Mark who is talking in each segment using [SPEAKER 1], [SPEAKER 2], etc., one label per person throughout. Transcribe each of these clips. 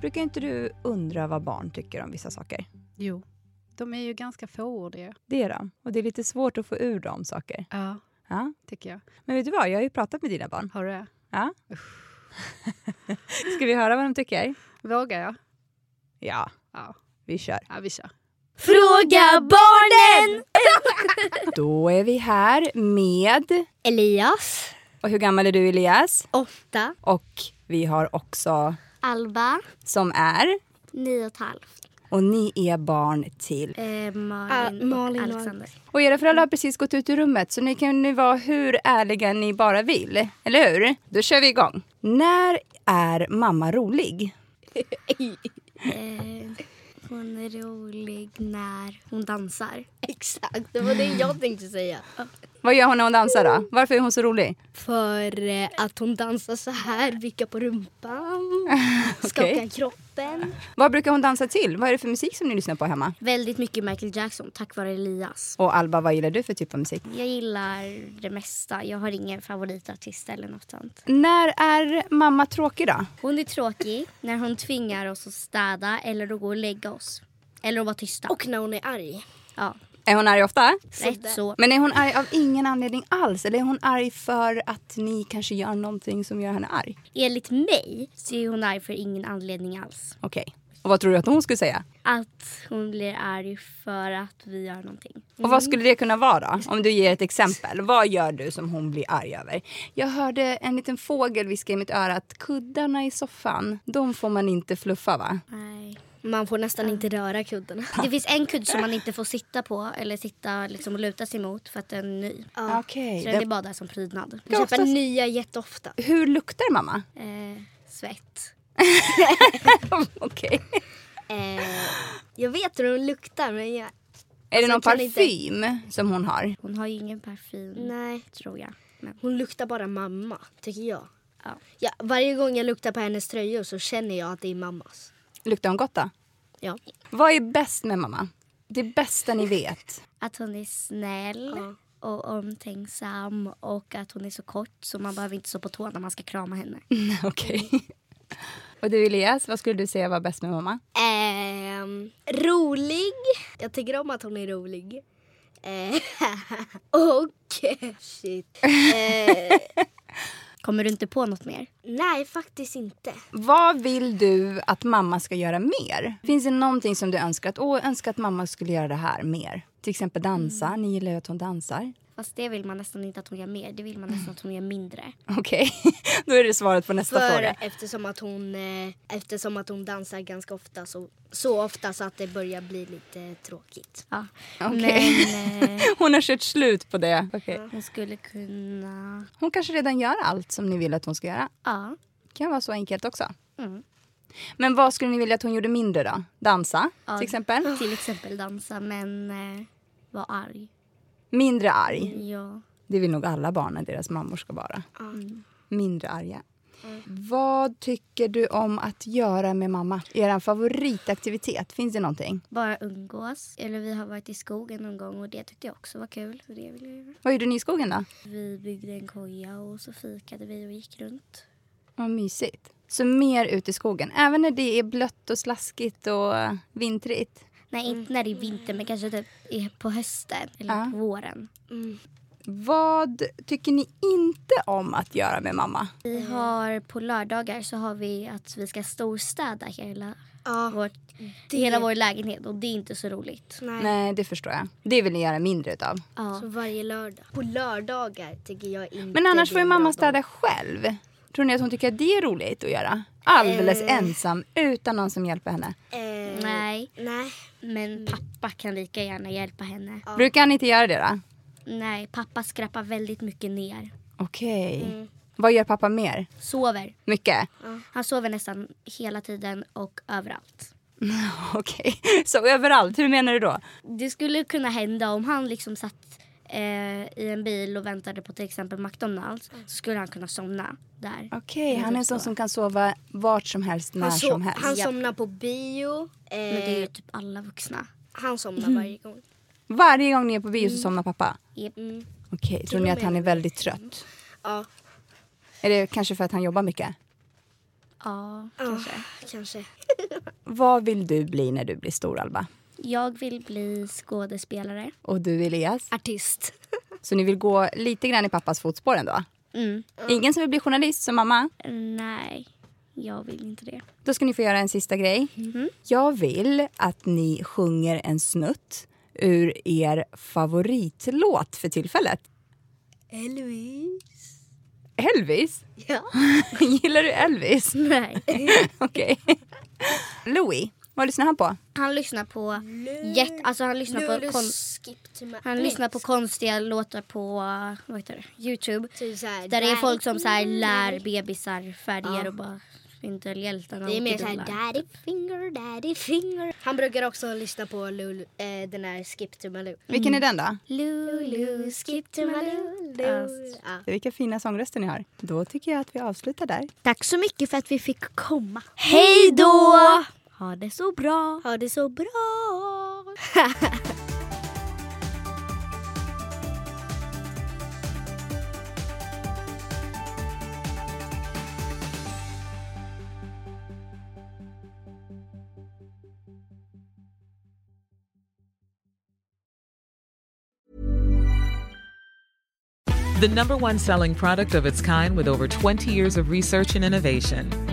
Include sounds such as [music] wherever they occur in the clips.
[SPEAKER 1] Brukar inte du undra vad barn tycker om vissa saker?
[SPEAKER 2] Jo, de är ju ganska fåordiga.
[SPEAKER 1] Det är de. Och det är lite svårt att få ur dem saker.
[SPEAKER 2] Ja,
[SPEAKER 1] Ja.
[SPEAKER 2] tycker jag.
[SPEAKER 1] Men vet du vad, jag har ju pratat med dina barn.
[SPEAKER 2] Har du det?
[SPEAKER 1] Ja. [laughs] Ska vi höra vad de tycker?
[SPEAKER 2] Vågar jag?
[SPEAKER 1] Ja,
[SPEAKER 2] Ja,
[SPEAKER 1] vi kör.
[SPEAKER 2] ja vi kör.
[SPEAKER 3] Fråga barnen!
[SPEAKER 1] Då är vi här med...
[SPEAKER 3] Elias.
[SPEAKER 1] Och hur gammal är du Elias?
[SPEAKER 3] Åtta.
[SPEAKER 1] Och vi har också
[SPEAKER 3] Alba.
[SPEAKER 1] som är...
[SPEAKER 3] Nio och ett halvt. Ah,
[SPEAKER 1] Och ni är barn till.
[SPEAKER 3] Eh, Malin, och Alexander.
[SPEAKER 1] Och era föräldrar har precis gått ut ur rummet så ni kan nu vara hur ärliga ni bara vill. Eller hur? Då kör vi igång. När är mamma rolig?
[SPEAKER 3] Hon är rolig när hon dansar. Exakt, det var det jag tänkte säga.
[SPEAKER 1] Vad gör hon när hon dansar då? Varför är hon så rolig?
[SPEAKER 3] För eh, att hon dansar så här, vickar på [laughs] rumpan, skakar kroppen.
[SPEAKER 1] Vad brukar hon dansa till? Vad är det för musik som ni lyssnar på hemma?
[SPEAKER 3] Väldigt mycket Michael Jackson tack vare Elias.
[SPEAKER 1] Och Alba, vad gillar du för typ av musik?
[SPEAKER 3] Jag gillar det mesta. Jag har ingen favoritartist eller något sånt.
[SPEAKER 1] När är mamma tråkig då?
[SPEAKER 3] Hon är tråkig när hon tvingar oss att städa eller att gå och lägga oss. Eller att vara tysta. Och när hon är arg. Ja,
[SPEAKER 1] Är hon arg ofta?
[SPEAKER 3] rätt så.
[SPEAKER 1] Men är hon arg av ingen anledning alls? Eller är hon arg för att ni kanske gör någonting som gör henne arg?
[SPEAKER 3] Enligt mig så är hon arg för ingen anledning alls.
[SPEAKER 1] Okej. Och vad tror du att hon skulle säga?
[SPEAKER 3] Att hon blir arg för att vi gör någonting.
[SPEAKER 1] Och vad skulle det kunna vara då? Om du ger ett exempel. Vad gör du som hon blir arg över? Jag hörde en liten fågel viska i mitt öra att kuddarna i soffan, de får man inte fluffa va?
[SPEAKER 3] Nej.
[SPEAKER 4] Man får nästan inte röra kuddarna.
[SPEAKER 3] [laughs] Det finns en kudde som man inte får sitta på eller sitta liksom och luta sig mot för att den är ny.
[SPEAKER 1] Okej.
[SPEAKER 3] Så den är bara där som prydnad.
[SPEAKER 4] Man köper nya jätteofta.
[SPEAKER 1] Hur luktar mamma?
[SPEAKER 3] Eh, svett.
[SPEAKER 1] Okej.
[SPEAKER 4] Eh, jag vet hur de luktar men jag...
[SPEAKER 1] Är det någon
[SPEAKER 4] kan inte-
[SPEAKER 1] parfym som hon har?
[SPEAKER 3] Hon har ju ingen parfym,
[SPEAKER 4] Nej.
[SPEAKER 3] tror jag. Men,
[SPEAKER 4] Hon luktar bara mamma, tycker jag.
[SPEAKER 3] ja.
[SPEAKER 4] Ja, varje gång jag luktar på hennes tröjor så känner jag att det är mammas.
[SPEAKER 1] Luktar hon gott då?
[SPEAKER 4] Ja.
[SPEAKER 1] Vad är bäst med mamma? Det bästa ni vet? [laughs]
[SPEAKER 3] Att hon är snäll och omtänksam och att hon är så kort så man behöver inte stå på tå när man ska krama henne.
[SPEAKER 1] Okej. Och du Elias, vad skulle du säga var bäst med mamma?
[SPEAKER 4] Ehm, rolig. Jag tycker om att hon är rolig. Eh, [laughs] och... Shit. Eh,
[SPEAKER 3] Kommer du inte på något mer?
[SPEAKER 4] nej, faktiskt inte.
[SPEAKER 1] Vad vill du att mamma ska göra mer? Finns det någonting som du önskar att, åh, önskar att mamma skulle göra det här mer? Till exempel dansa,
[SPEAKER 3] Mm.
[SPEAKER 1] ni gillar ju att hon dansar. [laughs]
[SPEAKER 3] Fast det vill man nästan inte att hon gör mer. Det vill man nästan att hon gör mindre.
[SPEAKER 1] Okej, [laughs] då är det svaret på nästa
[SPEAKER 4] För
[SPEAKER 1] fråga.
[SPEAKER 4] eftersom att, hon, eh, eftersom att hon dansar ganska ofta så, så ofta så att det börjar bli lite tråkigt.
[SPEAKER 3] Ja.
[SPEAKER 1] Okej. [laughs]
[SPEAKER 3] Men eh,
[SPEAKER 1] Hon har kört slut på det.
[SPEAKER 3] hon skulle kunna...
[SPEAKER 1] Hon kanske redan gör allt som ni vill att hon ska göra.
[SPEAKER 3] Ja.
[SPEAKER 1] kan vara så enkelt också.
[SPEAKER 3] Mm.
[SPEAKER 1] Men vad skulle ni vilja att hon gjorde mindre då? Dansa
[SPEAKER 3] ja.
[SPEAKER 1] till
[SPEAKER 3] [gasps]
[SPEAKER 1] exempel?
[SPEAKER 3] Till exempel dansa men eh, vara arg.
[SPEAKER 1] Mindre arg.
[SPEAKER 3] Ja.
[SPEAKER 1] Det vill nog alla barn att deras mammor ska vara. Mm. Mindre arga. Vad tycker du om att göra med mamma? Er favoritaktivitet, finns det någonting?
[SPEAKER 3] Bara umgås. Eller vi har varit i skogen någon gång och det tyckte jag också var kul. Så det vill jag göra.
[SPEAKER 1] Vad gjorde ni i skogen då?
[SPEAKER 3] Vi byggde en koja och så fikade vi och gick runt.
[SPEAKER 1] Vad mysigt. Så mer ut i skogen, även när det är blött och slaskigt och vintrigt.
[SPEAKER 3] Nej, inte när det är vinter men kanske typ i- på hösten eller
[SPEAKER 1] Ja.
[SPEAKER 3] på våren.
[SPEAKER 1] Vad tycker ni inte om att göra med mamma?
[SPEAKER 3] Vi har på lördagar så har vi att vi ska storstäda hela,
[SPEAKER 4] Ja,
[SPEAKER 3] vårt, hela vår lägenhet och det är inte så roligt.
[SPEAKER 4] nej.
[SPEAKER 1] Nej, det förstår jag. Det vill ni göra mindre utav.
[SPEAKER 3] Ja.
[SPEAKER 4] Så varje lördag. På lördagar tycker jag inte
[SPEAKER 1] Men annars
[SPEAKER 4] det
[SPEAKER 1] får
[SPEAKER 4] är
[SPEAKER 1] ju
[SPEAKER 4] en bra
[SPEAKER 1] mamma
[SPEAKER 4] dag.
[SPEAKER 1] städa själv. Tror ni att hon tycker att det är roligt att göra? Alldeles ensam, utan någon som hjälper henne.
[SPEAKER 4] Eh,
[SPEAKER 3] Nej,
[SPEAKER 4] nej.
[SPEAKER 3] men pappa kan lika gärna hjälpa henne.
[SPEAKER 1] Brukar han inte göra det då?
[SPEAKER 3] Nej, pappa skrapar väldigt mycket ner.
[SPEAKER 1] Okej.
[SPEAKER 4] Mm.
[SPEAKER 1] Vad gör pappa mer?
[SPEAKER 3] Sover.
[SPEAKER 1] Mycket?
[SPEAKER 3] Han sover nästan hela tiden och överallt.
[SPEAKER 1] Okej. [laughs] Så överallt, hur menar du då?
[SPEAKER 3] Det skulle kunna hända om han liksom satt eh, i en bil och väntade på till exempel McDonalds så skulle han kunna somna där.
[SPEAKER 1] Okej, han är en sån som kan sova vart som helst, när
[SPEAKER 4] Han,
[SPEAKER 1] som
[SPEAKER 4] so-
[SPEAKER 1] helst.
[SPEAKER 4] han somnar på bio. Eh,
[SPEAKER 3] Men det är ju typ alla vuxna.
[SPEAKER 4] Han somnar varje gång.
[SPEAKER 1] Varje gång ni är på bio
[SPEAKER 4] Mm.
[SPEAKER 1] så somnar pappa?
[SPEAKER 3] Japp.
[SPEAKER 1] Okej, tror ni att han är väldigt trött?
[SPEAKER 4] Ja,
[SPEAKER 1] Är det kanske för att han jobbar mycket?
[SPEAKER 3] Ja,
[SPEAKER 4] kanske. kanske.
[SPEAKER 3] kanske.
[SPEAKER 1] Vad vill du bli när du blir stor, Alba?
[SPEAKER 3] Jag vill bli skådespelare.
[SPEAKER 1] Och du, Elias?
[SPEAKER 4] Artist.
[SPEAKER 1] Så ni vill gå lite grann i pappas fotspår ändå?
[SPEAKER 3] Mm.
[SPEAKER 1] Ingen som vill bli journalist som mamma?
[SPEAKER 3] Nej, jag vill inte det. Mm-hmm.
[SPEAKER 1] Då ska ni få göra en sista grej. Jag vill att ni sjunger en snutt ur er favoritlåt för tillfället.
[SPEAKER 4] Elvis.
[SPEAKER 1] Elvis?
[SPEAKER 4] Ja.
[SPEAKER 1] [laughs] Gillar du Elvis?
[SPEAKER 3] Nej.
[SPEAKER 1] [laughs] Okej. Louis, vad lyssnar han på?
[SPEAKER 3] Han lyssnar på jätt, alltså han lyssnar på, kon,
[SPEAKER 4] skip to my...
[SPEAKER 3] han lyssnar på konstiga låtar på eh, vad heter det? Youtube.
[SPEAKER 4] Typ så här,
[SPEAKER 3] Där det är folk som så här
[SPEAKER 4] daddy
[SPEAKER 3] lär
[SPEAKER 4] finger.
[SPEAKER 3] bebisar färger och bara inte hjältarna
[SPEAKER 4] Det är
[SPEAKER 3] och
[SPEAKER 4] mer så här
[SPEAKER 3] idolerna.
[SPEAKER 4] daddy finger, daddy finger. Han brukar också lyssna på Lulu, eh, den här Skip to Malou.
[SPEAKER 1] Vilken är den då?
[SPEAKER 4] Lulu, skip to Malou. Lulu. Ja.
[SPEAKER 1] Vilka fina sångröster ni har. Då tycker jag att vi avslutar där.
[SPEAKER 3] Tack så mycket för att vi fick komma. Hej då! Ha det så bra.
[SPEAKER 4] Ha det så bra.
[SPEAKER 5] The number one selling product of its kind with over 20 years of research and innovation.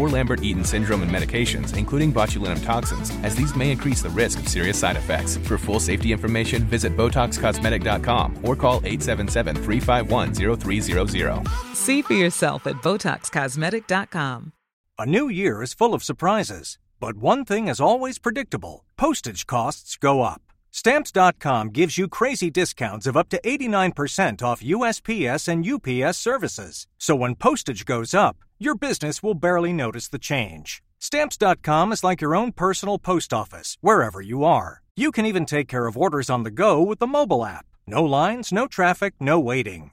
[SPEAKER 6] or Lambert-Eaton syndrome and medications, including botulinum toxins, as these may increase the risk of serious side effects. For full safety information, visit BotoxCosmetic.com or call 877-351-0300.
[SPEAKER 5] See for yourself at BotoxCosmetic.com.
[SPEAKER 7] A new year is full of surprises, but one thing is always predictable postage costs go up. Stamps.com gives you crazy discounts of up to 89% off USPS and UPS services. So when postage goes up, your business will barely notice the change. Stamps.com is like your own personal post office, wherever you are. You can even take care of orders on the go with the mobile app. No lines, no traffic, no waiting.